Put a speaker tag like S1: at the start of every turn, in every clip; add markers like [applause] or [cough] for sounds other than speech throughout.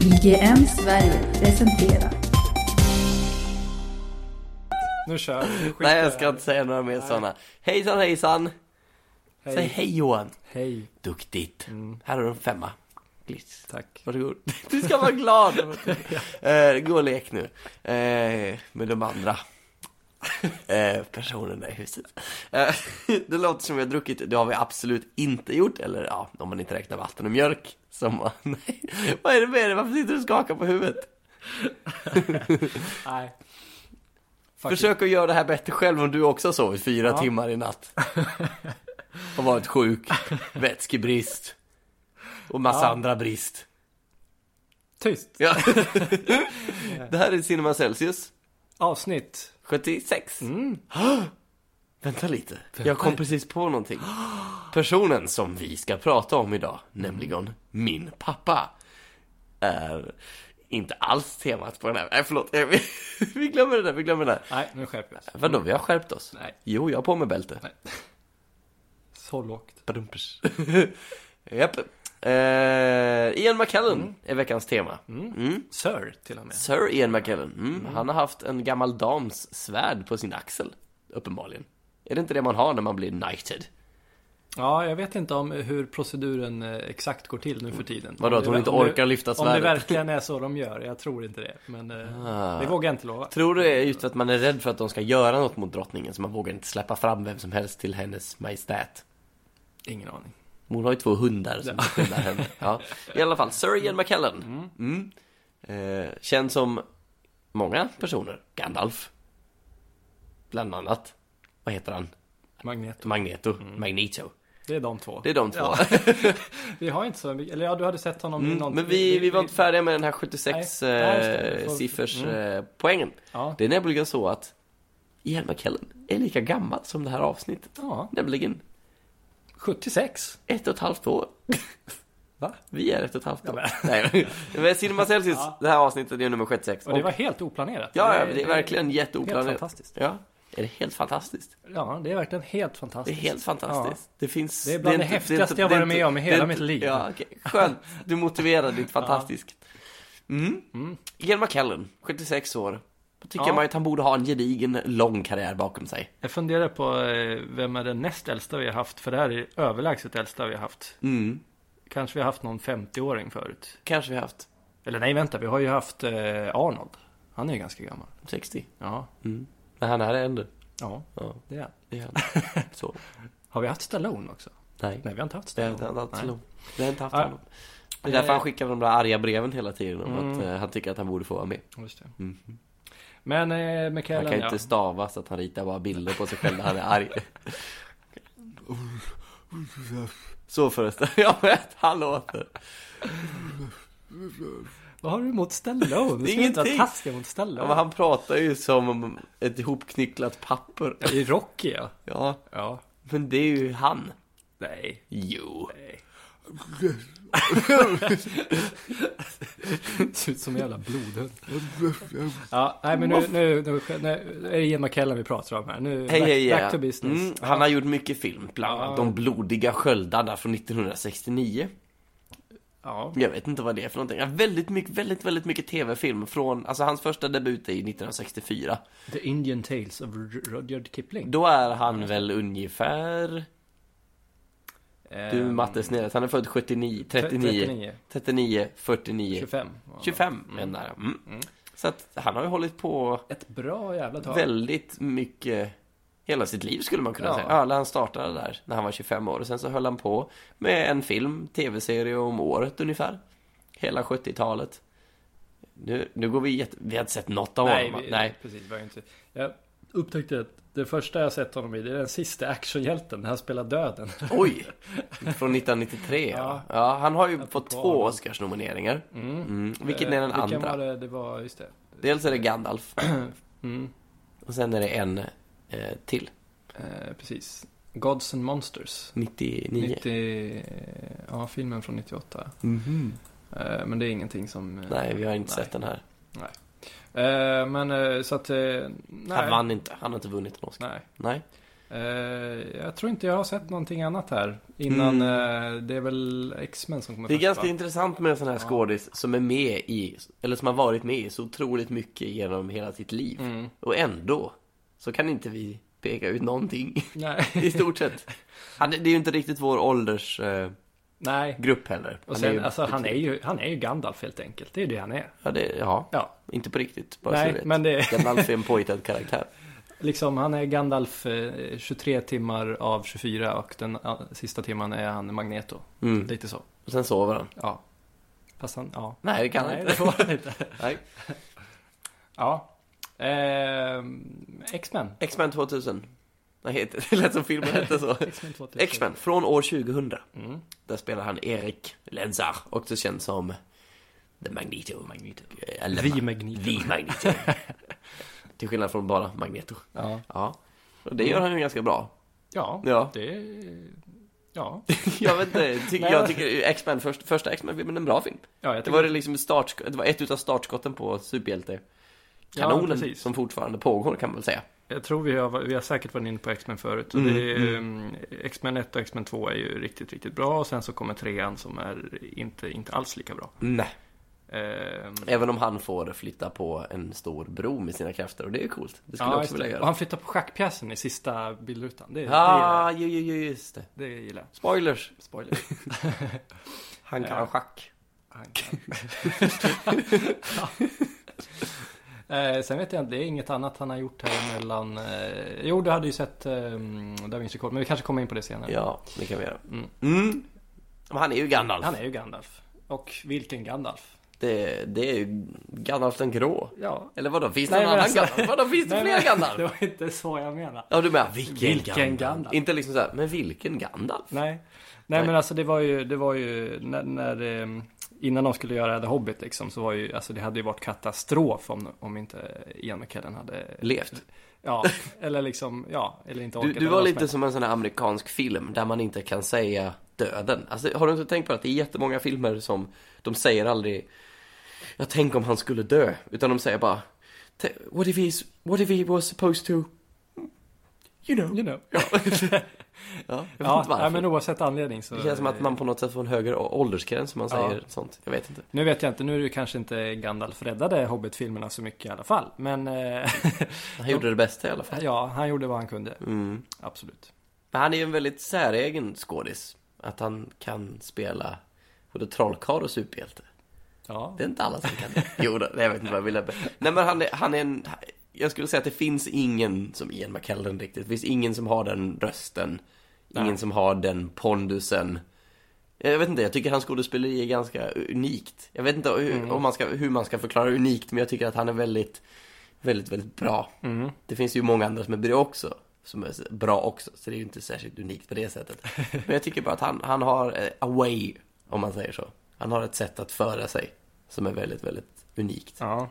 S1: IGM Sverige presenterar
S2: Nu kör vi. Skit
S3: Nej
S2: i det
S3: jag ska
S2: här.
S3: inte säga några mer
S2: Nej.
S3: sådana. Hejsan hejsan!
S2: Hej.
S3: Säg hej Johan!
S2: Hej.
S3: Duktigt!
S2: Mm,
S3: Här har du en femma. Gliss.
S2: tack.
S3: Varsågod. [laughs] Du ska vara glad!
S2: [laughs]
S3: eh, gå och lek nu. Eh, med
S2: [laughs]
S3: de andra eh, personerna i huset. Eh, [laughs] det låter som vi har druckit. Det har vi absolut inte gjort. Eller ja, om man inte räknar vatten och mjölk. Som, [laughs] nej. Vad är det med dig? Varför sitter du och skakar på huvudet?
S2: Nej. Fuck it.
S3: Försök att göra det här bättre själv om du också har sovit fyra
S2: Ja.
S3: timmar
S2: [laughs]
S3: i natt. Och varit sjuk, vätskebrist och massa
S2: Ja.
S3: andra brist.
S2: Tyst.
S3: Ja. [laughs] det här är Cinema Celsius,
S2: Avsnitt.
S3: 76.
S2: Mm.
S3: Vänta lite, jag kom precis på någonting. Personen som vi ska prata om idag, nämligen min pappa, är inte alls temat på den här. Nej, förlåt. [laughs] Vi glömmer det där, vi glömmer det där.
S2: Nej, nu skärper vi oss.
S3: Vadå, vi har skärpt oss?
S2: Nej.
S3: Jo, jag har på mig bälte.
S2: Nej. Så lågt.
S3: Badumpers. Japp. Eh, Ian McKellen är veckans tema. Mm.
S2: Sir, till och med.
S3: Sir Ian McKellen. Mm. Han har haft en gammal dams svärd på sin axel, uppenbarligen. Är det inte det man har när man blir knighted?
S2: Ja, jag vet inte om hur proceduren eh, exakt går till nu för tiden.
S3: Vadå,
S2: Om
S3: att
S2: det-
S3: hon inte
S2: om det-
S3: orkar lyfta
S2: Om det
S3: svärdet?
S2: verkligen är så de gör. Jag tror inte det. Men eh,
S3: Ah.
S2: det vågar jag inte lova.
S3: Tror du det är just att man är rädd för att de ska göra något mot drottningen så man vågar inte släppa fram vem som helst till hennes majestät?
S2: Ingen aning.
S3: Hon har ju två hundar som skyddar henne. Ja. I alla fall, Sir Ian McKellen. Mm. Eh, känd som många personer. Gandalf. Bland annat. Vad heter han?
S2: Magnet.
S3: Magneto. Magneto.
S2: Det är de två.
S3: Det är de två.
S2: Mm.
S3: [laughs]
S2: Ja. Vi har inte så mycket. Eller ja, du hade sett honom i
S3: Mm,
S2: någon...
S3: men vi, vi var inte färdiga med den här 76
S2: Nej, nej, just det. Vi
S3: eh,
S2: får-
S3: siffers
S2: mm.
S3: eh, poängen.
S2: Ja.
S3: Det är nämligen så att Ian McKellen är lika gammal som det här avsnittet.
S2: ja.
S3: Nämligen
S2: 76.
S3: ett och ett halvt år.
S2: Va?
S3: Vi är ett och ett halvt år. Nej, men Cinema Celsius,
S2: Ja.
S3: det här avsnittet är nummer 76.
S2: Och det var helt oplanerat.
S3: Ja, ja, det är verkligen
S2: Helt
S3: jätteoplanerat.
S2: fantastiskt.
S3: Ja, är det helt fantastiskt?
S2: Ja, det är verkligen helt
S3: Det är
S2: fantastiskt.
S3: helt fantastiskt. Det, finns,
S2: Det är bland det
S3: inte-
S2: häftigaste
S3: inte-
S2: jag
S3: det är
S2: varit med
S3: inte-
S2: om i
S3: det är
S2: hela
S3: inte-
S2: mitt liv.
S3: Ja, okej. Skönt, du motiverar ditt fantastiskt. Mm.
S2: Mm.
S3: Ian McKellen, 76 år. Då tycker
S2: Ja.
S3: man ju att han borde ha en gedigen, lång karriär bakom sig.
S2: Jag funderar på eh, vem är den näst äldsta vi har haft? För det här är överlägset äldsta vi har haft.
S3: Mm.
S2: Kanske vi har haft någon 50-åring förut.
S3: Kanske vi har haft
S2: Eller nej, vänta. Vi har ju haft eh, Arnold. Han är ju ganska gammal.
S3: 60.
S2: Ja,
S3: Mm. Men han här är äldre.
S2: ja,
S3: Ja,
S2: det är han.
S3: det är
S2: [laughs]
S3: han. Så.
S2: Har vi haft Stallone också?
S3: Nej.
S2: Nej, vi har inte haft
S3: Det har
S2: Stallone.
S3: inte han haft
S2: Nej.
S3: honom. Det har inte haft
S2: Ja.
S3: honom. Det är därför
S2: Eh.
S3: han skickar de där arga breven hela tiden om
S2: Mm.
S3: att eh, han tycker att han borde få vara med.
S2: Just det.
S3: Mm.
S2: Men eh, Mikaelen,
S3: Han kan
S2: ja.
S3: inte stava så att han ritar bara bilder på sig själv när han är arg. Så förresten, [laughs] jag vet, han låter.
S2: Vad har du emot Stallone? Du ska inte vara
S3: Ingenting.
S2: taskig mot
S3: Ja,
S2: Stallone.
S3: men han pratar ju som om ett ihopknycklat papper.
S2: I Rocky ja.
S3: Ja,
S2: Ja.
S3: men det är ju han.
S2: Nej.
S3: Jo.
S2: Nej. Ser ut som en jävla blodhund. Ja, nej men nu, nu, nu, nu är det Ian McKellen vi pratar om här. Nu,
S3: Hej,
S2: back,
S3: hej,
S2: back to business.
S3: Mm, han har gjort mycket film, bland annat De blodiga sköldarna från 1969.
S2: Ja,
S3: Jag vet inte vad det är för någonting. Ja, väldigt mycket, väldigt, väldigt mycket tv-film från, alltså hans första debut är ju 1964.
S2: The Indian Tales of R- Rudyard Kipling.
S3: Då är han väl ungefär Du
S2: Ehm,
S3: mattesnäret, han är född 79, 39,
S2: 39.
S3: 39, 49,
S2: 25. Ja.
S3: 25 menar jag. Mm.
S2: Mm.
S3: Så att han har ju hållit på
S2: Ett bra jävla tag.
S3: väldigt mycket hela sitt liv skulle man kunna
S2: Ja.
S3: säga. Ja, eller han startade där när han var 25 år och sen så höll han på med en film, tv-serie om året ungefär. Hela 70-talet. Nu, nu går vi jätte... Vi har inte sett något av
S2: Nej,
S3: honom.
S2: vi, [laughs]
S3: Nej.
S2: precis. Vi har ju inte. Jag upptäckte att det första jag sett honom i det är den sista actionhjälten när han spelar döden.
S3: Oj! Från 1993 ja.
S2: Ja.
S3: ja. Han har ju fått
S2: bra.
S3: två Oscarsnomineringar. Mm. Vilken är den
S2: Eh, vilken
S3: andra?
S2: Var det, det var, just det.
S3: Dels är det Gandalf.
S2: Mm,
S3: Och sen är det en eh, till.
S2: eh, precis. Gods and Monsters.
S3: 99.
S2: 90, eh, ja, filmen från 98. Eh, men det är ingenting som... eh,
S3: Nej, vi har inte
S2: nej.
S3: sett den här.
S2: Eh, men eh, så att... Eh, nej.
S3: Han vann inte. Han har inte vunnit en Oscar.
S2: Nej.
S3: Nej.
S2: Eh, jag tror inte jag har sett någonting annat här. Innan eh, det är väl X-Men som kommer
S3: Mm. Det är
S2: först,
S3: ganska
S2: va?
S3: intressant med en sån här
S2: Ja.
S3: skådis som är med i, eller som har varit med i så otroligt mycket genom hela sitt liv.
S2: Mm.
S3: Och ändå så kan inte vi peka
S2: [laughs]
S3: ut någonting, i
S2: Nej.
S3: stort sett. Han, det är ju inte riktigt vår åldersgrupp
S2: Nej.
S3: heller.
S2: Och sen, alltså, han, är
S3: betydligt-
S2: ju, han är ju Gandalf helt enkelt. Det är ju det han är.
S3: Ja, det, ja,
S2: Ja.
S3: inte på riktigt, bara så du
S2: Nej,
S3: vet.
S2: men det är
S3: Gandalf är en påhittad karaktär.
S2: liksom, han är Gandalf eh, 23 timmar av 24 och den eh, sista timman är han Magneto.
S3: Mm.
S2: Lite så.
S3: Och sen sover han.
S2: Ja. Fast han, ja.
S3: Nej, det kan han
S2: Nej,
S3: inte.
S2: det får han inte.
S3: Nej.
S2: Ja. Ehm, X-Men.
S3: X-Men 2000. Nej, heter- [laughs] det lät som filmen hette så.
S2: X-Men 2000.
S3: X-Men, från år 2000.
S2: Mm.
S3: Där spelar han Erik Lenzar, också känd som The Magneto. Magneto. Eller
S2: Vi Magneto.
S3: The [laughs] Magneto. Till skillnad från bara Magneto.
S2: Ja.
S3: Ja. Och det gör han ju ganska [laughs] bra.
S2: Ja.
S3: Ja.
S2: Det... Ja.
S3: Jag vet inte, ty-
S2: Nej,
S3: jag
S2: men-
S3: tycker X-Men, först, första X-Men-filmen är en bra film.
S2: ja jag
S3: Det
S2: tycker-
S3: var, det liksom start, det var ett utav startskotten på superhjälte-kanonen
S2: Ja, precis.
S3: som fortfarande pågår kan man väl säga.
S2: Jag tror vi har, vi har säkert varit inne på X-Men förut. Och
S3: Mm,
S2: det är, ehm, X-Men 1 och X-Men 2 är ju riktigt, riktigt bra. Och sen så kommer trean som är inte, inte alls lika bra.
S3: Nej.
S2: Ehm,
S3: Även om han får flytta på en stor bro med sina krafter och det är ju coolt. Det skulle jag
S2: just
S3: också vilja
S2: det.
S3: göra.
S2: Och han flyttar på schackpjäsen i sista bildrutan. Det,
S3: Ja, ju, ju, ju, just det.
S2: det, gillar jag. det gillar jag.
S3: Spoilers. [laughs]
S2: Spoiler.
S3: Han kan
S2: Ja.
S3: schack.
S2: Han kan. [laughs] ja. eh, sen vet jag inte, det är inget annat han har gjort här mellan... Eh, jo, du hade ju sett eh, Da Vinci Code, men vi kanske kommer in på det senare.
S3: Ja, det kan vi göra.
S2: Mm.
S3: Mm. Men han är ju Gandalf.
S2: Han är ju Gandalf. Och vilken Gandalf?
S3: Det, det är ju Gandalf den grå.
S2: Ja,
S3: Eller vadå, finns det
S2: Nej,
S3: någon
S2: men
S3: annan
S2: alltså-
S3: Gandalf? Vadå, finns det
S2: Nej,
S3: fler
S2: men- [laughs]
S3: Gandalf?
S2: Det var inte så jag menade.
S3: Ja, du menar vilken,
S2: Vilken
S3: Gandalf?
S2: Gandalf?
S3: Inte liksom såhär, men vilken Gandalf?
S2: Nej. Nej,
S3: Nej.
S2: men alltså det var ju, det var ju när, när eh, innan de skulle göra The Hobbit liksom så var ju, alltså det hade ju varit katastrof om, om inte Ian McKellen hade,
S3: Levt. [laughs]
S2: ja, eller liksom, ja, eller inte
S3: Du,
S2: orkat.
S3: du
S2: eller
S3: var
S2: vad som
S3: lite som en sån här amerikansk film där man inte kan säga döden. Alltså, har du inte tänkt på att det är jättemånga filmer som de säger aldrig Jag tänk om han skulle dö. Utan de säger bara "T- What if, he's, what if he was supposed to You
S2: helst.
S3: know.
S2: You know.
S3: Ja, ja jag vet
S2: Ja,
S3: inte varför.
S2: nej, men oavsett anledning så.
S3: Det känns som att man på något sätt får en högre å- åldersgräns om man
S2: Ja.
S3: säger sånt. Jag vet inte.
S2: Nu vet jag inte, nu är det ju kanske inte Gandalf räddade Hobbit-filmerna så mycket i alla fall. Men eh, [laughs]
S3: Han gjorde det bästa i alla fall.
S2: ja, han gjorde vad han kunde.
S3: Mm.
S2: Absolut.
S3: Men han är ju en väldigt säregen skådis. Att han kan spela både trollkarl och superhjälte.
S2: Ja,
S3: Det är inte alla som kan det. [laughs] Jo, då, nej, jag vet inte vad jag ville. Nej, men han är, han är en... Jag skulle säga att det finns ingen som Ian McKellen riktigt. Det finns ingen som har den rösten. Ingen
S2: Nej.
S3: som har den pondusen. Jag vet inte, jag tycker hans skådespeleri är ganska unikt. Jag vet inte hur,
S2: Mm.
S3: om man ska, hur man ska förklara unikt, men jag tycker att han är väldigt, väldigt, väldigt bra.
S2: mm.
S3: Det finns ju många andra som är bra också. Som är bra också, så det är ju inte särskilt unikt på det sättet. Men jag tycker bara att han, han har eh, a way, om man säger så. Han har ett sätt att föra sig som är väldigt, väldigt unikt.
S2: ja,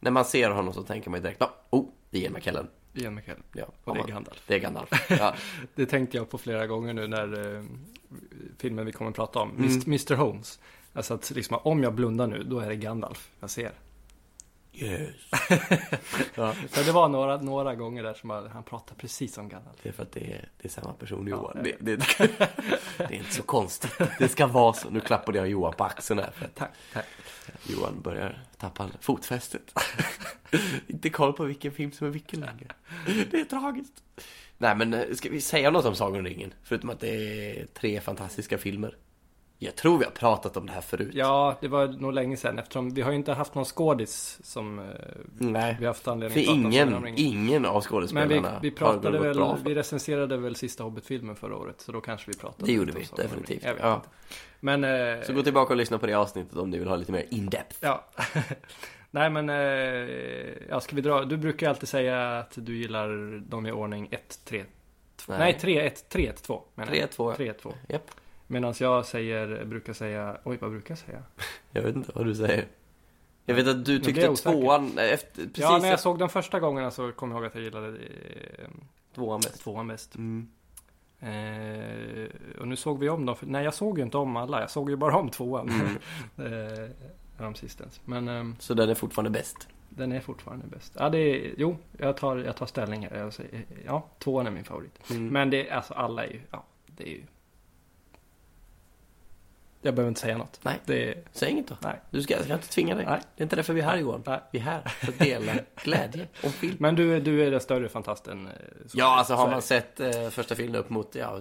S3: När man ser honom så tänker man ju direkt, "Ja, oh, det är Ian McKellen.
S2: Ian McKellen.
S3: Ja,
S2: Och det är
S3: om man-
S2: Gandalf.
S3: det är Gandalf.
S2: [laughs]
S3: Ja.
S2: Det tänkte jag på flera gånger nu när eh, filmen vi kommer att prata om,
S3: Mm.
S2: Mist- Mr Holmes. Alltså att liksom, om jag blundar nu, då är det Gandalf jag ser.
S3: [laughs] Yes.
S2: Så det var några, några gånger där som han, han pratade precis som Gandalf.
S3: Det är för att det är, det är samma person,
S2: Ja,
S3: Johan.
S2: jag
S3: det, det, det är inte så konstigt. Det ska vara så. Nu klappade jag Johan på axeln här. För att
S2: Tack, tack.
S3: Johan börjar tappa fotfästet. Inte koll på vilken film som är vilken längre. Det är tragiskt. Nej men eh, ska vi säga något om Sagan om ringen? Förutom att det är tre fantastiska filmer. Jag tror vi har pratat om det här förut.
S2: Ja, det var nog länge sedan eftersom vi har ju inte haft någon skådis som eh,
S3: Nej.
S2: vi har haft
S3: För
S2: anledning att prata om Sagan om
S3: ingen,
S2: ringen.
S3: ingen av
S2: Men vi,
S3: skådespelarna
S2: vi
S3: har
S2: pratade
S3: gått
S2: väl,
S3: bra för.
S2: vi recenserade väl sista Hobbit-filmen förra året, så då kanske vi pratade
S3: Det gjorde
S2: lite om
S3: vi,
S2: Sagan om ringen.
S3: definitivt.
S2: Jag vet
S3: Ja.
S2: inte. Men, eh,
S3: Så gå tillbaka och lyssna på det avsnittet om ni vill ha lite mer in-depth.
S2: Ja. [laughs] Nej men, eh, ja, ska vi dra? Du brukar ju alltid säga att du gillar dem i ordning 1, 3, 2.
S3: Nej.
S2: Nej, 3, 1, 3, 1, 2. menar jag.
S3: 3, 2,
S2: 3, 1, 2.
S3: Japp.
S2: Medan jag säger, brukar säga, oj vad brukar jag säga?
S3: Jag vet inte vad du säger. Jag vet att du
S2: Nu blir
S3: tyckte
S2: jag osäker.
S3: tvåan, eh, efter, precis
S2: ja, när jag
S3: efter
S2: såg de första gångerna så kom jag ihåg att jag gillade eh,
S3: tvåan bäst.
S2: tvåan bäst.
S3: Mm.
S2: Eh, och nu såg vi om dem, för, nej jag såg ju inte om alla, jag såg ju bara om tvåan. [laughs]
S3: Mm.
S2: eh, häromsistens. Men, ehm,
S3: Så den är fortfarande bäst.
S2: Den är fortfarande bäst. Ja, det är, jo, jag tar, jag tar ställning här. Jag säger, eh, ja, tvåan är min favorit.
S3: Mm.
S2: Men det är alltså alla är ju, ja, det är ju. Jag behöver inte säga något.
S3: Nej.
S2: Det är,
S3: Säg inget då.
S2: nej.
S3: Du ska, jag ska inte tvinga dig.
S2: Nej.
S3: Det är inte därför vi är här Johan.
S2: Nej.
S3: Vi är här för
S2: [laughs]
S3: att dela glädje och film.
S2: Men du, är- du är den större fantasten. eh, så-
S3: Ja, alltså
S2: så
S3: har
S2: är
S3: man
S2: det.
S3: sett eh, första filmen upp mot, ja,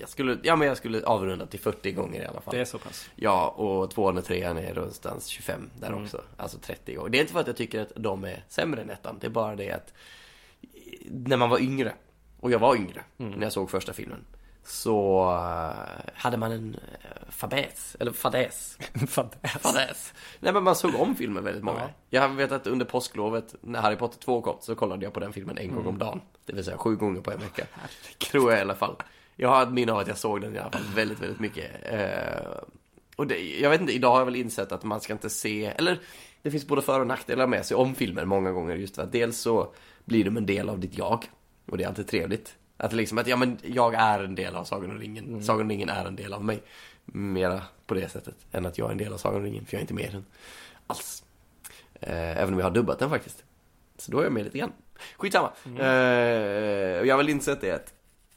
S3: jag skulle, ja, men jag skulle avrunda till 40 gånger i alla fall.
S2: Det är så pass.
S3: Ja, och tvåan och trean är någonstans 25 där
S2: Mm.
S3: också. Alltså 30 gånger. Det är inte för att jag tycker att de är sämre än ettan. Det är bara det att när man var yngre, och jag var yngre när jag såg första filmen, så eh, hade man en eh, fadäs, eller fadäs, [laughs] fadäs. Nej men man såg om filmen väldigt många.
S2: Ja.
S3: Jag vet att under påsklovet när Harry Potter 2 kom så kollade jag på den filmen en gång om dagen. Det vill säga sju gånger på en vecka. Tror jag i alla fall. Jag har ett minne av att jag såg den i alla fall väldigt, väldigt mycket. Eh, och det, jag vet inte, idag har jag väl insett att man ska inte se, eller det finns både för och nackdelar med sig om filmer många gånger. Just för att dels så blir de en del av ditt jag. Och det är alltid trevligt. Att liksom att, ja men jag är en del av Sagan om ringen. Sagan om ringen är en del av mig. Mera på det sättet än att jag är en del av Sagan om ringen. För jag är inte med i den alls. Eh, även om jag har dubbat den faktiskt. Så då är jag med lite grann. Skitsamma. Eh, och jag har väl insett det att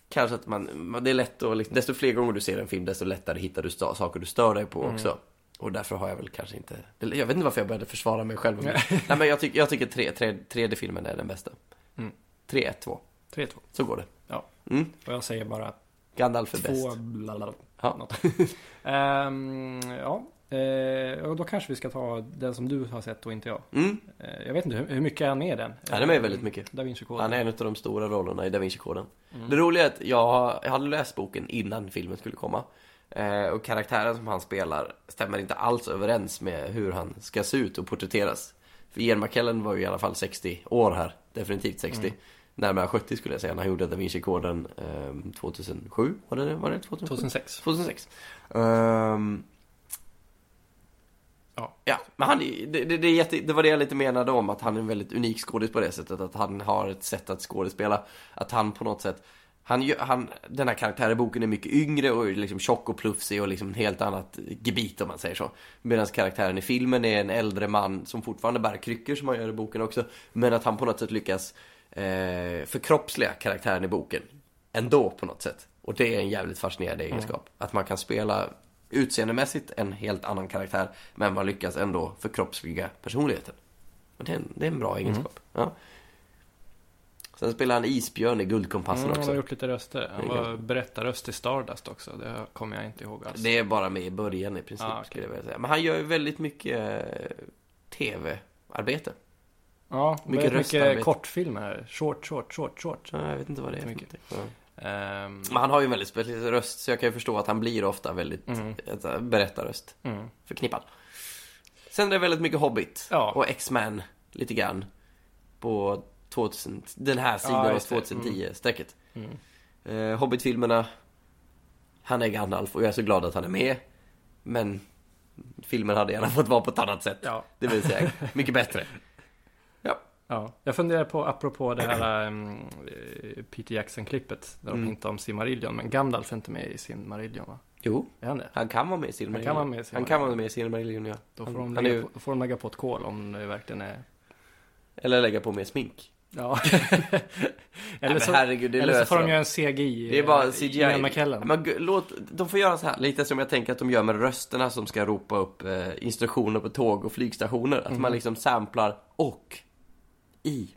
S3: kanske att man, man- det är lätt att, liksom, desto fler gånger du ser en film desto lättare hittar du sta- saker du stör dig på också. Och därför har jag väl kanske inte, eller jag vet inte varför jag började försvara mig själv. Men, nej men jag, tycker- jag tycker tre, tre, tredje filmen är den bästa.
S2: Mm.
S3: 3, 1, 2.
S2: 3-2.
S3: Så går det.
S2: Ja.
S3: Mm.
S2: Och jag säger bara
S3: Gandalf är
S2: två...
S3: bäst.
S2: Blablabla,
S3: Ja. [laughs]
S2: något. Ehm, ja. Eh, och då kanske vi ska ta den som du har sett och inte jag.
S3: Mm.
S2: Eh, jag vet inte, hur, hur mycket är han med i den?
S3: Han är med väldigt mycket.
S2: Da Vinci-koden.
S3: Han är en av de stora rollerna i Da Vinci-koden.
S2: Mm.
S3: Det roliga är att jag, jag hade läst boken innan filmen skulle komma. Eh, och karaktären som han spelar stämmer inte alls överens med hur han ska se ut och porträtteras. För Ian McKellen var ju i alla fall 60 år här. Definitivt 60.
S2: Mm.
S3: Närmare 70 skulle jag säga. när Han gjorde Da Vinci-koden eh, 2007. Var det, var det 2007?
S2: 2006.
S3: 2006. Ehm,
S2: Ja.
S3: Ja, men han, är- det, det, det, är jätte, det var det jag lite menade om, att han är en väldigt unik skådis på det sättet. Att han har ett sätt att skådespela. Att han på något sätt, han, gör- han, den här karaktären i boken är mycket yngre och är liksom tjock och plufsig och liksom ett helt annat gebit om man säger så. Medan karaktären i filmen är en äldre man som fortfarande bär kryckor som han gör i boken också. Men att han på något sätt lyckas eh, förkroppsliga karaktären i boken ändå på något sätt. Och det är en jävligt fascinerande
S2: Mm.
S3: egenskap. Att man kan spela utseendemässigt en helt annan karaktär men man lyckas ändå förkroppsliga personligheten. Och det, är en, det är en bra egenskap.
S2: Mm.
S3: Ja. Sen spelar han isbjörn i Guldkompassen
S2: Mm, han har
S3: också.
S2: gjort lite röster. Han
S3: Det är
S2: var berättarröst i Stardust också. Det kommer jag inte ihåg alls.
S3: Det är bara med i början i princip
S2: Ah, okej.
S3: skulle jag vilja säga. Men han gör ju väldigt mycket eh, tv-arbete.
S2: Ja,
S3: Mycket
S2: mycket,
S3: röstarbete.
S2: mycket kortfilmer. Short, short, short, short.
S3: Så jag vet inte vad det är. för
S2: Mycket.
S3: någonting. Ja.
S2: Ehm,
S3: Men han har ju en väldigt speciell röst så jag kan ju förstå att han blir ofta väldigt
S2: Mm.
S3: eh, berättarröst.
S2: mm.
S3: förknippad. Sen är det väldigt mycket Hobbit
S2: Ja.
S3: och X-Men lite grann. På 2000, den här sidan
S2: Ja,
S3: av
S2: just det.
S3: 2010-strecket.
S2: Mm.
S3: Eh, Hobbit-filmerna, han är Gandalf och jag är så glad att han är med. Men filmen hade gärna fått vara på ett annat sätt.
S2: Ja.
S3: Det vill säga, mycket bättre.
S2: ja. Jag funderar på, apropå det
S3: [clears throat]
S2: här ehm, eh, Peter Jackson-klippet. Där de
S3: Mm.
S2: inte om Silmarillion. Men Gandalf är inte med i Silmarillion va?
S3: Jo,
S2: Är han det?
S3: han kan vara med i
S2: Han kan vara
S3: Silmarillion.
S2: med i
S3: Han kan vara med i Silmarillion, ja.
S2: Då
S3: Han-
S2: får de,
S3: han är
S2: lägga
S3: ju-
S2: på, får de lägga på ett kol om det verkligen är...
S3: Eller lägga på mer smink.
S2: [laughs] Ja.
S3: Nej,
S2: eller
S3: men
S2: så,
S3: herregud, det
S2: eller så
S3: löser
S2: får de
S3: de.
S2: göra en CGI.
S3: Det är bara
S2: eh,
S3: CGI.
S2: Ian McKellen.
S3: Men gu- låt, de får göra så här, lite som jag tänker att de gör med rösterna som ska ropa upp eh, instruktioner på tåg och flygstationer. Att man liksom samplar och i.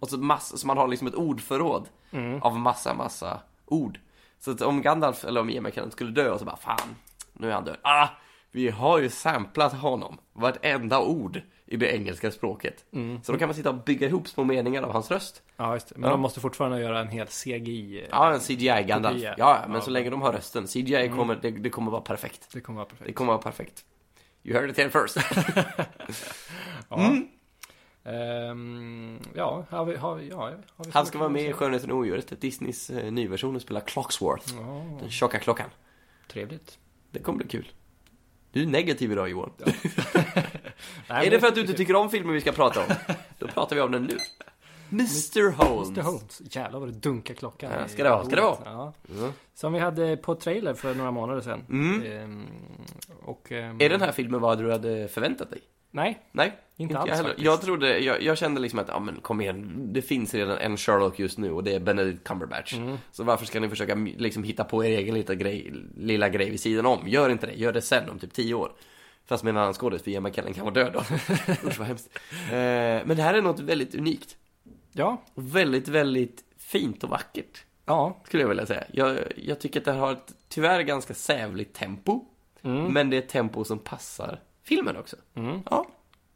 S3: Och så, massa, så man har liksom ett ordförråd
S2: Mm.
S3: av massa, massa ord. Så att om Gandalf eller om Ian McKellen skulle dö och så bara fan, nu är han död. Ah, vi har ju samplat honom, vartenda ord i det engelska språket. Så då kan man sitta och bygga ihop små meningar av hans röst.
S2: Ja, just det. Men
S3: Ja.
S2: de måste fortfarande göra en hel CGI. eh,
S3: Ja, en CGI-Gandalf.
S2: Kopia.
S3: Ja, ja, men
S2: Ja.
S3: så länge de har rösten. CGI kommer, det, det kommer vara perfekt.
S2: Det kommer vara
S3: Det
S2: perfekt.
S3: kommer vara perfekt. You heard it
S2: [laughs]
S3: here first.
S2: Ja. Ehm, ja, har vi, har, vi- ja, har vi så
S3: Han
S2: mycket
S3: ska vara med i
S2: att
S3: Skönheten och odjuret, Disneys eh, nyversion och spela Clocksworth.
S2: säga? Ja,
S3: Den tjocka klockan.
S2: trevligt.
S3: Det kommer bli kul. Du är negativ idag Johan.
S2: Nej,
S3: är
S2: men-
S3: det för att du inte tycker om filmen vi ska prata om?
S2: [laughs]
S3: Då pratar vi om den nu. Mr Holmes.
S2: Mr Holmes. Jävlar vad det dunkar klockan.
S3: Ja,
S2: i
S3: ska det vara, ska det
S2: bordet.
S3: vara.
S2: Ja.
S3: Mm.
S2: Som vi hade på trailer för några månader sedan.
S3: Mm.
S2: Ehm, och, ehm,
S3: Är den här filmen vad du hade förväntat dig?
S2: Nej,
S3: Nej,
S2: inte alls
S3: jag heller.
S2: faktiskt.
S3: Jag trodde, jag, jag kände liksom att, ja men kom igen, det finns redan en Sherlock just nu och det är Benedict Cumberbatch.
S2: Mm.
S3: Så varför ska ni försöka m- liksom hitta på er egen lilla grej, lilla grej vid sidan om? Gör inte det, gör det sen om typ tio år. Fast med en annan skådis, för Ian McKellen kan vara
S2: [laughs]
S3: död då. Usch vad hemskt. Eh, men det här är något väldigt unikt.
S2: Ja,
S3: Och väldigt, väldigt fint och vackert.
S2: ja.
S3: Skulle jag vilja säga. Jag, jag tycker att det här har ett tyvärr ganska sävligt tempo.
S2: Mm.
S3: Men det är ett tempo som passar filmen också.
S2: Mm.
S3: Ja.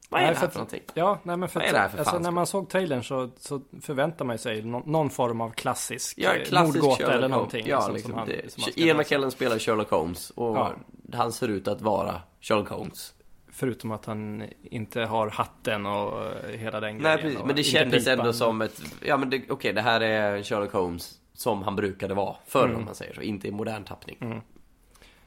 S3: Vad är
S2: Nej,
S3: det
S2: för
S3: här
S2: att-
S3: för någonting?
S2: Ja, nej men för,
S3: Vad är
S2: att-
S3: det här för
S2: alltså,
S3: fan?
S2: när man såg trailern så, så förväntar man sig någon, någon form av klassisk,
S3: Ja,
S2: eh,
S3: klassisk
S2: mordgåta
S3: Sherlock
S2: eller
S3: Holmes.
S2: någonting.
S3: Ja,
S2: liksom,
S3: liksom
S2: som han-
S3: det.
S2: som han ska
S3: Ian
S2: lösa.
S3: McKellen spelar Sherlock Holmes och
S2: Ja.
S3: han ser ut att vara Sherlock Holmes.
S2: Förutom att han inte har hatten och eh, hela den
S3: Nej,
S2: grejen.
S3: precis.
S2: och
S3: Men det
S2: inte
S3: kändes
S2: pipan.
S3: ändå som ett... Ja, men det- okej, det här är Sherlock Holmes som han brukade vara förr, om man säger så. Inte i modern tappning.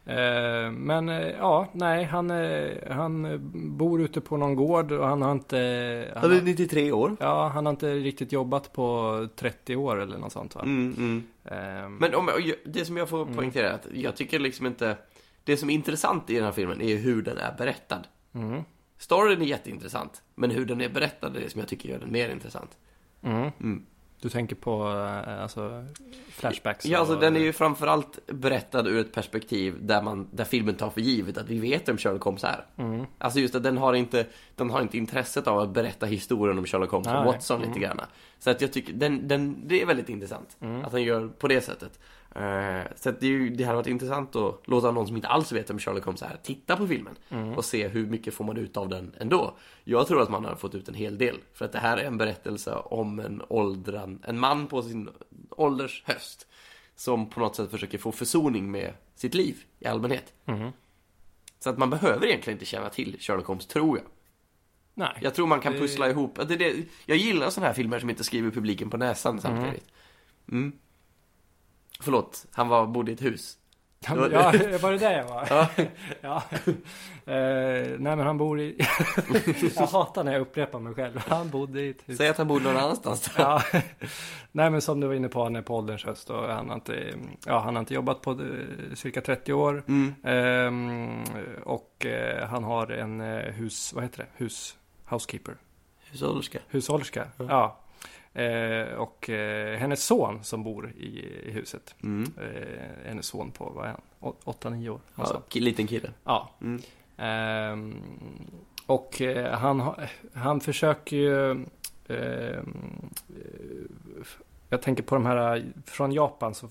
S2: Eh, men eh, ja, nej, han, eh, han eh, bor ute på någon gård och han har inte... Han har,
S3: 93 år.
S2: ja, han har inte riktigt jobbat på 30 år eller något sånt va?
S3: Mm, mm.
S2: Ehm,
S3: Men om, och jag- det som jag får poängtera är att jag tycker liksom inte... Det som är intressant i den här filmen är hur den är berättad.
S2: mm,
S3: Storyn är jätteintressant, men hur den är berättad är det som jag tycker gör den mer intressant.
S2: mm.
S3: Mm.
S2: Du tänker på eh, alltså, flashbacks?
S3: Ja, alltså
S2: och-
S3: den är ju framförallt berättad ur ett perspektiv där, man, där filmen tar för givet att vi vet vem Sherlock Holmes är.
S2: Mm.
S3: Alltså just att den har inte, den har inte intresset av att berätta historien om Sherlock Holmes
S2: Nej.
S3: och Watson
S2: Mm.
S3: lite grann. Så att jag tycker, den, den, det är väldigt intressant
S2: Mm.
S3: att han gör på det sättet. Eh, så att det, är ju, det hade varit intressant att låta någon som inte alls vet vem Sherlock Holmes är titta på filmen
S2: Mm.
S3: och se hur mycket får man ut av den ändå. Jag tror att man har fått ut en hel del. För att det här är en berättelse om en åldran, en man på sin ålders höst. Som på något sätt försöker få försoning med sitt liv i allmänhet.
S2: Mhm.
S3: Så att man behöver egentligen inte känna till Sherlock Holmes, tror jag.
S2: Nej.
S3: Jag tror man kan
S2: Det-
S3: pussla ihop. Det är det. Jag gillar sådana här filmer som inte skriver publiken på näsan samtidigt. Mm. Förlåt, han var, bodde i ett hus.
S2: Han, ja, var det där jag var?
S3: Ja.
S2: [laughs] ja. Eh, nej, men han bor i... [laughs] jag hatar när jag upprepar mig själv. Han bodde i ett hus.
S3: Säg att han bodde någon annanstans.
S2: Ja. [laughs] Nej, men som du var inne på, han är på ålderns höst och han har inte, ja, han har inte jobbat på eh, cirka 30 år.
S3: [laughs] Mm.
S2: Ehm, och eh, han har en eh, hus, vad heter det? Hus, housekeeper,
S3: Hushållerska.
S2: hushållerska. Ja. Eh, och eh, hennes son som bor i, i huset.
S3: Mm.
S2: Eh, hennes son på, vad är han? Å- åtta nio år? något
S3: Ja,
S2: sånt.
S3: ki- liten kille.
S2: Ja.
S3: Mm.
S2: Ehm, och eh, han, har- han försöker ju... ehm, eh, jag tänker på de här eh, från Japan. Så,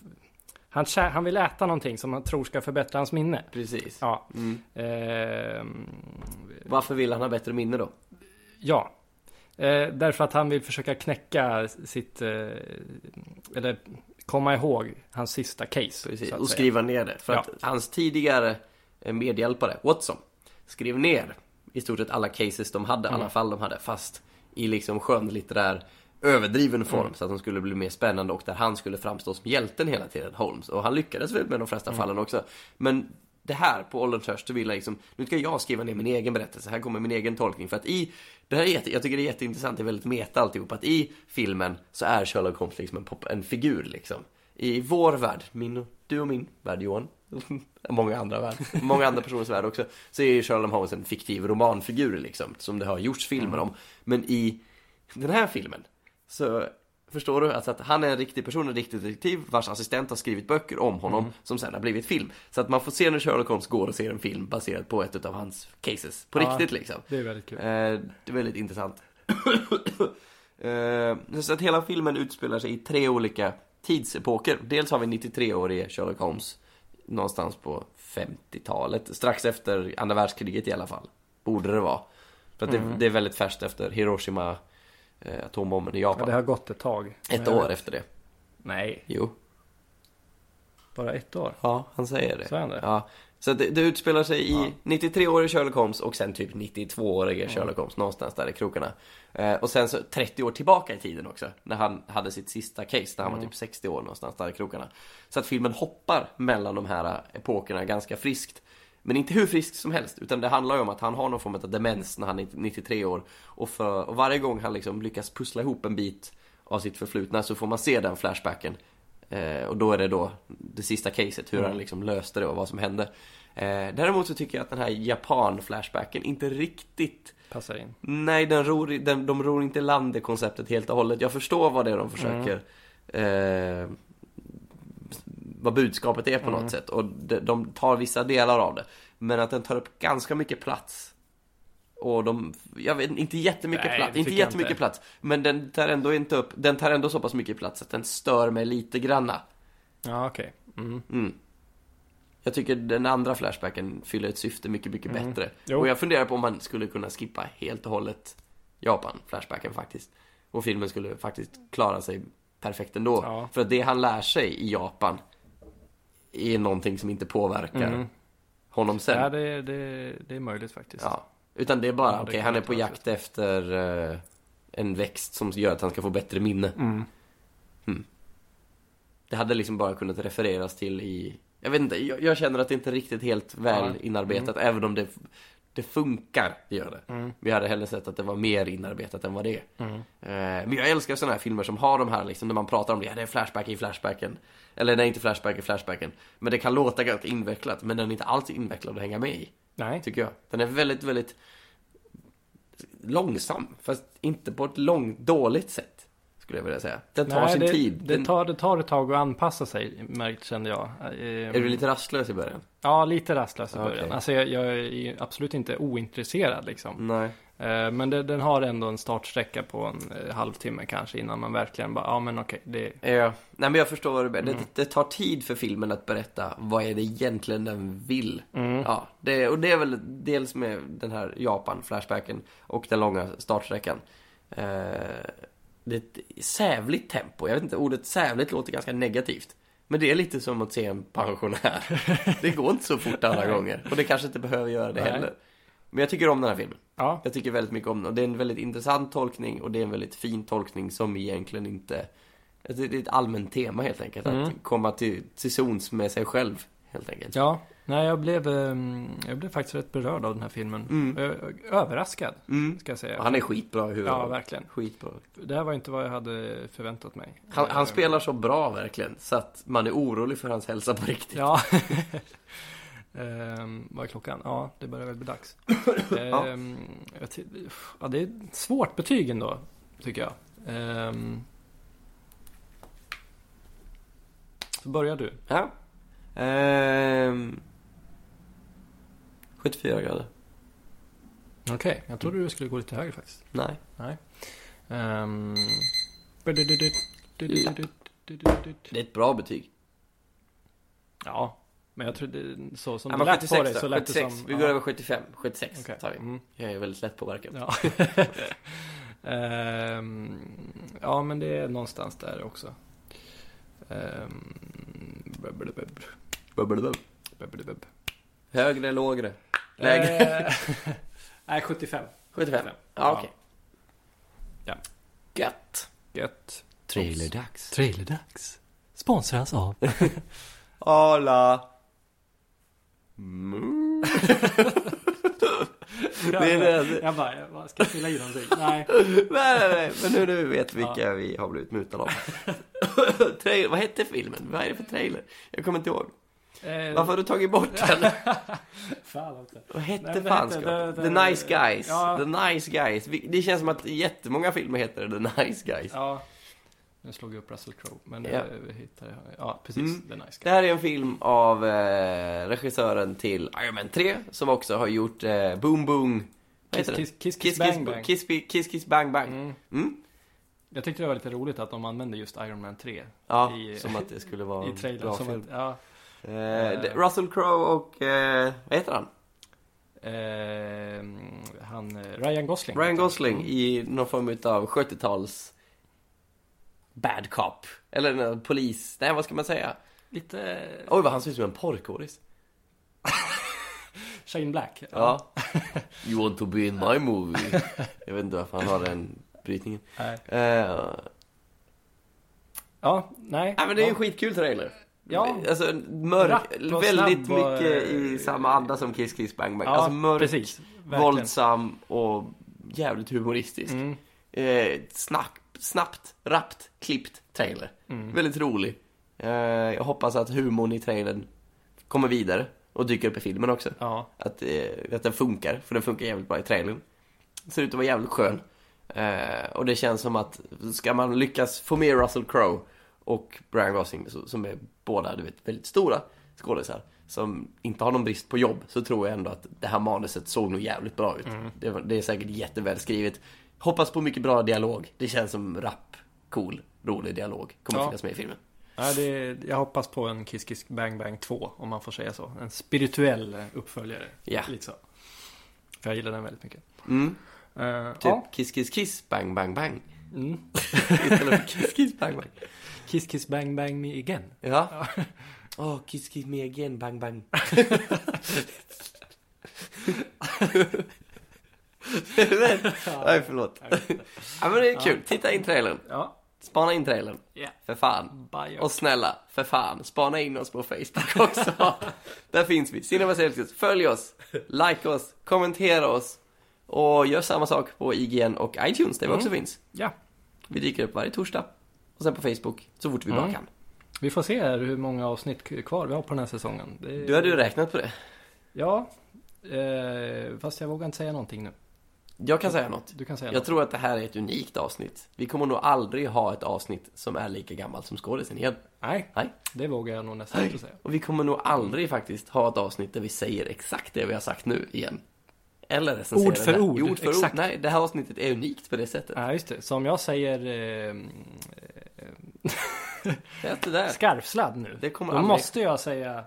S2: han, kä- han vill äta någonting som han tror ska förbättra hans minne.
S3: Precis.
S2: Ja.
S3: Mm.
S2: Ehm,
S3: Varför vill han ha bättre minne då?
S2: ja. Eh, därför att han vill försöka knäcka sitt... Eh, eller komma ihåg hans sista case.
S3: Precis.
S2: så att
S3: Och
S2: säga.
S3: skriva ner det. För
S2: Ja.
S3: att hans tidigare eh, medhjälpare, Watson, skrev ner i stort sett alla cases de hade,
S2: Mm.
S3: alla fall de hade, fast i liksom skönlitterär överdriven form
S2: Mm.
S3: så att de skulle bli mer spännande och där han skulle framstå som hjälten hela tiden, Holmes. Och han lyckades väl med de flesta
S2: Mm.
S3: fallen också. Men det här på ålderns höst, så vill jag liksom, nu ska jag skriva ner min egen berättelse, här kommer min egen tolkning. För att i, det här är jätte, jag tycker det är jätteintressant, det är väldigt meta alltihop, att i filmen så är Sherlock Holmes liksom en, pop, en figur liksom. I vår värld, min, och- du och min värld Johan, många andra värld, många andra personers värld också, så är ju Sherlock Holmes en fiktiv romanfigur liksom, som det har gjorts filmer om. Men i den här filmen, så förstår du alltså att han är en riktig person, en riktig detektiv vars assistent har skrivit böcker om honom som sen har blivit film. Så att man får se när Sherlock Holmes går och ser en film baserad på ett av hans cases, på
S2: Ja.
S3: riktigt liksom.
S2: Det är väldigt kul.
S3: Eh, det är väldigt intressant. [coughs] eh, så att hela filmen utspelar sig i tre olika tidsepoker. Dels har vi 93-årige Sherlock Holmes, någonstans på 50-talet, strax efter andra världskriget i alla fall. Borde det vara. För att
S2: Mm.
S3: det, det är väldigt färskt efter Hiroshima, eh, atombomben i
S2: Ja,
S3: Japan.
S2: det har gått ett tag.
S3: Ett
S2: Men jag
S3: år
S2: vet-
S3: efter det.
S2: Nej,
S3: Jo.
S2: bara ett år.
S3: Ja, han säger det.
S2: Så är han det?
S3: Ja. Så att det, det utspelar sig i 93-årige Sherlock Holmes och sen typ 92-årige Sherlock Holmes, någonstans där i krokarna. Eh, och sen så 30 år tillbaka i tiden också, när han hade sitt sista case, när han
S2: Mm.
S3: var typ 60 år någonstans där i krokarna. Så att filmen hoppar mellan de här eh, epokerna ganska friskt. Men inte hur friskt som helst, utan det handlar ju om att han har någon form av demens när han är 93 år. Och, för, och varje gång han liksom lyckas pussla ihop en bit av sitt förflutna så får man se den flashbacken Eh, och då är det då det sista caset, hur han liksom löste det och vad som hände. Eh, däremot så tycker jag att den här Japan-flashbacken inte riktigt
S2: Passar in.
S3: Nej, den ror, i- den, de ror inte i land det konceptet helt och hållet. Jag förstår vad det är de försöker... Eh, vad budskapet är på
S2: Mm.
S3: något sätt. Och de, de tar vissa delar av det. Men att den tar upp ganska mycket plats. Och de, jag vet inte jättemycket
S2: Nej,
S3: plats,
S2: det
S3: inte
S2: tycker jag
S3: jättemycket
S2: inte.
S3: plats. Men den tar ändå inte upp, den tar ändå så pass mycket plats att den stör mig lite granna.
S2: Ja, okej. Mm.
S3: Mm. Jag tycker den andra flashbacken fyller ett syfte mycket, mycket
S2: Mm.
S3: bättre.
S2: Jo.
S3: Och jag funderar på om man skulle kunna skippa helt och hållet Japan-flashbacken faktiskt. Och filmen skulle faktiskt klara sig perfekt ändå.
S2: Ja.
S3: För att det han lär sig i Japan är någonting som inte påverkar
S2: Mm.
S3: honom sen.
S2: Ja, det, det, det är möjligt faktiskt.
S3: Ja. Utan det är bara,
S2: Ja, det
S3: okej,
S2: kan
S3: han är
S2: inte
S3: på
S2: vara
S3: jakt efter eh, en växt som gör att han ska få bättre minne. Hmm.
S2: Mm.
S3: Det hade liksom bara kunnat refereras till i... Jag vet inte, jag, jag känner att det inte är riktigt helt väl
S2: Nej.
S3: inarbetat, även om det, det funkar, det gör det.
S2: Mm.
S3: Vi hade hellre sett att det var mer inarbetat än vad det är.
S2: Mm.
S3: Eh, men jag älskar sådana här filmer som har de här, liksom, när man pratar om det, ja, det är flashback i flashbacken. Eller nej, inte flashback i flashbacken. Men det kan låta ganska invecklat, men den är inte alls invecklad att hänga med i,
S2: Nej.
S3: tycker jag. Den är väldigt, väldigt långsam, fast inte på ett långt, dåligt sätt. Skulle jag vilja säga. Den tar
S2: Nej,
S3: sin
S2: det,
S3: tid.
S2: Det
S3: Den-
S2: tar, det tar ett tag att anpassa sig, märkt kände jag. Ehm,
S3: Är du lite rastlös i början?
S2: Ja, lite rastlös i
S3: Ja, okej.
S2: början. Alltså, jag, jag är ju absolut inte ointresserad liksom.
S3: Nej.
S2: Eh, Men det, den har ändå en startsträcka på en eh, halvtimme kanske innan man verkligen bara, ja men okej, det
S3: Ja. Nej men jag förstår vad du menar. Det, det tar tid för filmen att berätta vad är det egentligen den vill. Ja, det, och det är väl dels med den här Japan-flashbacken och den långa startsträckan. Eh, det är ett sävligt tempo. Jag vet inte, ordet sävligt låter ganska negativt. Men det är lite som att se en pensionär. Det går inte så fort alla gånger. Och det kanske inte behöver göra det
S2: Nej.
S3: heller. Men jag tycker om den här filmen.
S2: ja.
S3: Jag tycker väldigt mycket om den. Och det är en väldigt intressant tolkning och det är en väldigt fin tolkning som egentligen inte... alltså Det det är ett allmänt tema helt enkelt. Att
S2: Mm.
S3: komma till, till zons med sig själv helt enkelt.
S2: Ja, nej jag blev, ehm, jag blev faktiskt rätt berörd av den här filmen.
S3: Mm.
S2: Ö- Överraskad,
S3: Mm.
S2: ska jag säga.
S3: Och han är skitbra i huvudet.
S2: Ja, verkligen.
S3: skitbra.
S2: Det här var inte vad jag hade förväntat mig.
S3: Han,
S2: Ehm,
S3: han spelar så bra verkligen. Så att man är orolig för hans hälsa på riktigt.
S2: Ja. [laughs] Ehm, vad är klockan? Ja, det börjar väl bli [coughs] dags. Ehm, jag ty- ja, det är ett svårt betyg ändå, tycker jag. Ehm, så börjar du.
S3: Ja. Ehm, 74 grader.
S2: Okej, jag trodde du skulle gå lite högre faktiskt.
S3: Nej.
S2: Ehm,
S3: Det är ett bra betyg.
S2: Ja, men jag trodde så som
S3: Ja,
S2: det
S3: men
S2: lät
S3: 76
S2: på dig så
S3: då.
S2: lät det
S3: 76.
S2: som...
S3: Vi går över 75. 76
S2: Okej.
S3: tar vi.
S2: Mm.
S3: Jag är väldigt lätt påverkad.
S2: Ja. [laughs] Ehm, ja, men det är någonstans där också. Ehm, bubblebubb,
S3: Bubblebubb.
S2: bubblebubb.
S3: Högre, lägre? Lägre. [laughs]
S2: Eh, [laughs] Nej, 75.
S3: 75? Ja, okej.
S2: Ja.
S3: Gött.
S2: Gött.
S3: Trailerdags.
S2: Trailerdags. Sponsras av...
S3: Ala. Mm. Det är det.
S2: Jag bara, jag bara, ska jag fylla i
S3: [laughs]
S2: någonting? Nej.
S3: Nej, nej, nej. Men nu, nu vet vi vilka vi har blivit
S2: [laughs]
S3: mutade av. trailer. Vad hette filmen? Vad är det för trailer? Jag kommer inte ihåg.
S2: Eh,
S3: Varför har du tagit bort den?
S2: [laughs] Fan alltså. också.
S3: Vad
S2: Nej,
S3: hette
S2: men
S3: fan
S2: det-
S3: ska-
S2: det- det-
S3: The Nice Guys.
S2: Ja.
S3: The Nice Guys. Vi- Det känns som att jättemånga filmer heter The Nice Guys.
S2: Ja. Nu slog jag upp Russell Crowe, men
S3: Ja.
S2: eh, vi hittade jag. Ja, precis.
S3: Mm.
S2: The Nice
S3: Det
S2: Guy.
S3: här är en film av eh, regissören till Iron Man 3 som också har gjort eh, Boom Boom... Vad
S2: Kiss,
S3: heter
S2: kiss, kiss,
S3: den? Kiss,
S2: bang, bang.
S3: Kiss, kiss, kiss, kiss Bang Bang.
S2: Mm.
S3: Mm.
S2: Jag tyckte det var lite roligt att de använde just Iron Man 3
S3: Ja,
S2: I-
S3: som att det skulle [laughs] vara
S2: i
S3: en
S2: trailern.
S3: bra
S2: Som
S3: film.
S2: att, ja,
S3: Eh, det- Russell Crowe och... Eh, vad heter han?
S2: ehm, han, eh, Ryan Gosling.
S3: Ryan
S2: heter han.
S3: Gosling
S2: Mm.
S3: i någon form utav 70-tals... Bad cop. Eller en polis... Nej, vad ska man säga?
S2: Lite
S3: Oj, vad han ser ut som en porrkåris.
S2: Shane Black.
S3: Ja. [laughs] you want to be in my movie. Jag vet inte varför han har den brytningen.
S2: Nej.
S3: Eh,
S2: Ja, nej.
S3: Ja, men det är ju
S2: ja.
S3: en skitkul trailer.
S2: Ja.
S3: Alltså mörk,
S2: Rapp och
S3: väldigt
S2: snabb och,
S3: mycket
S2: eh,
S3: i samma anda som Kiss Kiss Bang Bang.
S2: Ja,
S3: alltså mörk,
S2: precis. Verkligen.
S3: våldsam och jävligt humoristisk.
S2: Mm.
S3: Eh, snabbt, snabbt, rappt, klippt trailer.
S2: Mm.
S3: Väldigt rolig. Eh, jag hoppas att humorn i trailern kommer vidare. Och dyker upp i filmen också.
S2: Ja.
S3: Att, eh, att den funkar, för den funkar jävligt bra i trailern. Ser ut att vara jävligt skön. Eh, och det känns som att ska man lyckas få med Russell Crowe och Brian Gosling, så, som är båda du vet, väldigt stora skådisar, som inte har någon brist på jobb, så tror jag ändå att det här manuset såg nog jävligt bra ut.
S2: Mm.
S3: Det, var- det är säkert jättevälskrivet. Hoppas på mycket bra dialog. Det känns som rapp, cool, rolig dialog kommer
S2: Ja.
S3: finnas med i filmen.
S2: Nej, det är, jag hoppas på en Kiss Kiss Bang Bang 2, om man får säga så. En spirituell eh, uppföljare.
S3: Ja.
S2: Lite så. För jag gillar den väldigt mycket.
S3: Mm.
S2: Eh,
S3: Typ
S2: Ja.
S3: kiss, kiss, kiss, bang,
S2: [laughs]
S3: bang, bang.
S2: Mm.
S3: Istället för kiss, kiss, bang, bang.
S2: Kiss Kiss Bang Bang Me Again.
S3: Ja. [laughs] Åh, oh, kiss kiss me again, bang bang. Men- [laughs] Nej, förlåt. ja, men det är kul. Titta in trailern.
S2: Ja.
S3: Spana in trailern.
S2: Ja.
S3: För fan.
S2: Bye.
S3: Och snälla, för fan, spana in oss på Facebook [laughs] också. Där finns vi. Cinema Celsius. Följ oss, like oss, kommentera oss. Och gör samma sak på IGN och iTunes, där vi också finns.
S2: Ja.
S3: Vi dyker upp varje torsdag. Och sen på Facebook, så fort vi bara
S2: Mm.
S3: kan.
S2: Vi får se här hur många avsnitt k- kvar vi har på den här säsongen. Det är-
S3: Du hade ju räknat på det.
S2: Ja. Eh, fast jag vågar inte säga någonting nu.
S3: Jag kan säga något.
S2: Du kan säga
S3: Jag tror att det här är ett unikt avsnitt. Vi kommer nog aldrig ha ett avsnitt som är lika gammalt som skådisen igen.
S2: Nej.
S3: Nej.
S2: Det vågar jag nog nästan inte säga.
S3: Och vi kommer nog aldrig faktiskt ha ett avsnitt där vi säger exakt det vi har sagt nu igen. Eller recenserar
S2: Ord för
S3: det här.
S2: ord,
S3: Jo, ord för
S2: exakt.
S3: ord. Nej, det här avsnittet är unikt på det sättet.
S2: Ja, just det. Som jag säger eh,
S3: Det är det där.
S2: skarvsladd nu.
S3: Det kommer
S2: Då
S3: aldrig-
S2: måste jag säga...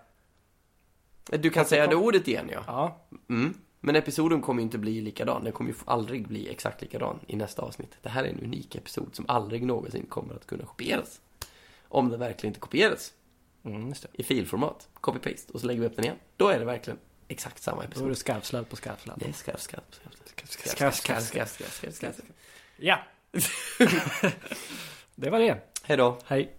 S3: Du kan säga det ordet igen, ja.
S2: Ja.
S3: Mm. Men episoden kommer ju inte bli likadan. Den kommer ju aldrig bli exakt likadan i nästa avsnitt. Det här är en unik episod som aldrig någonsin kommer att kunna kopieras. Om den verkligen inte kopieras.
S2: Mm, just det.
S3: i filformat, copy-paste, och så lägger vi upp den igen. Då är det verkligen exakt samma
S2: Då är
S3: episod.
S2: det skarvsladd på skarvsladd.
S3: Det är skarpt, skarpt, skarpt.
S2: Skarv, skarv, skarv.
S3: [laughs] skarpt, skarpt, skarpt.
S2: Ja. det var det.
S3: Hej då.
S2: Hej.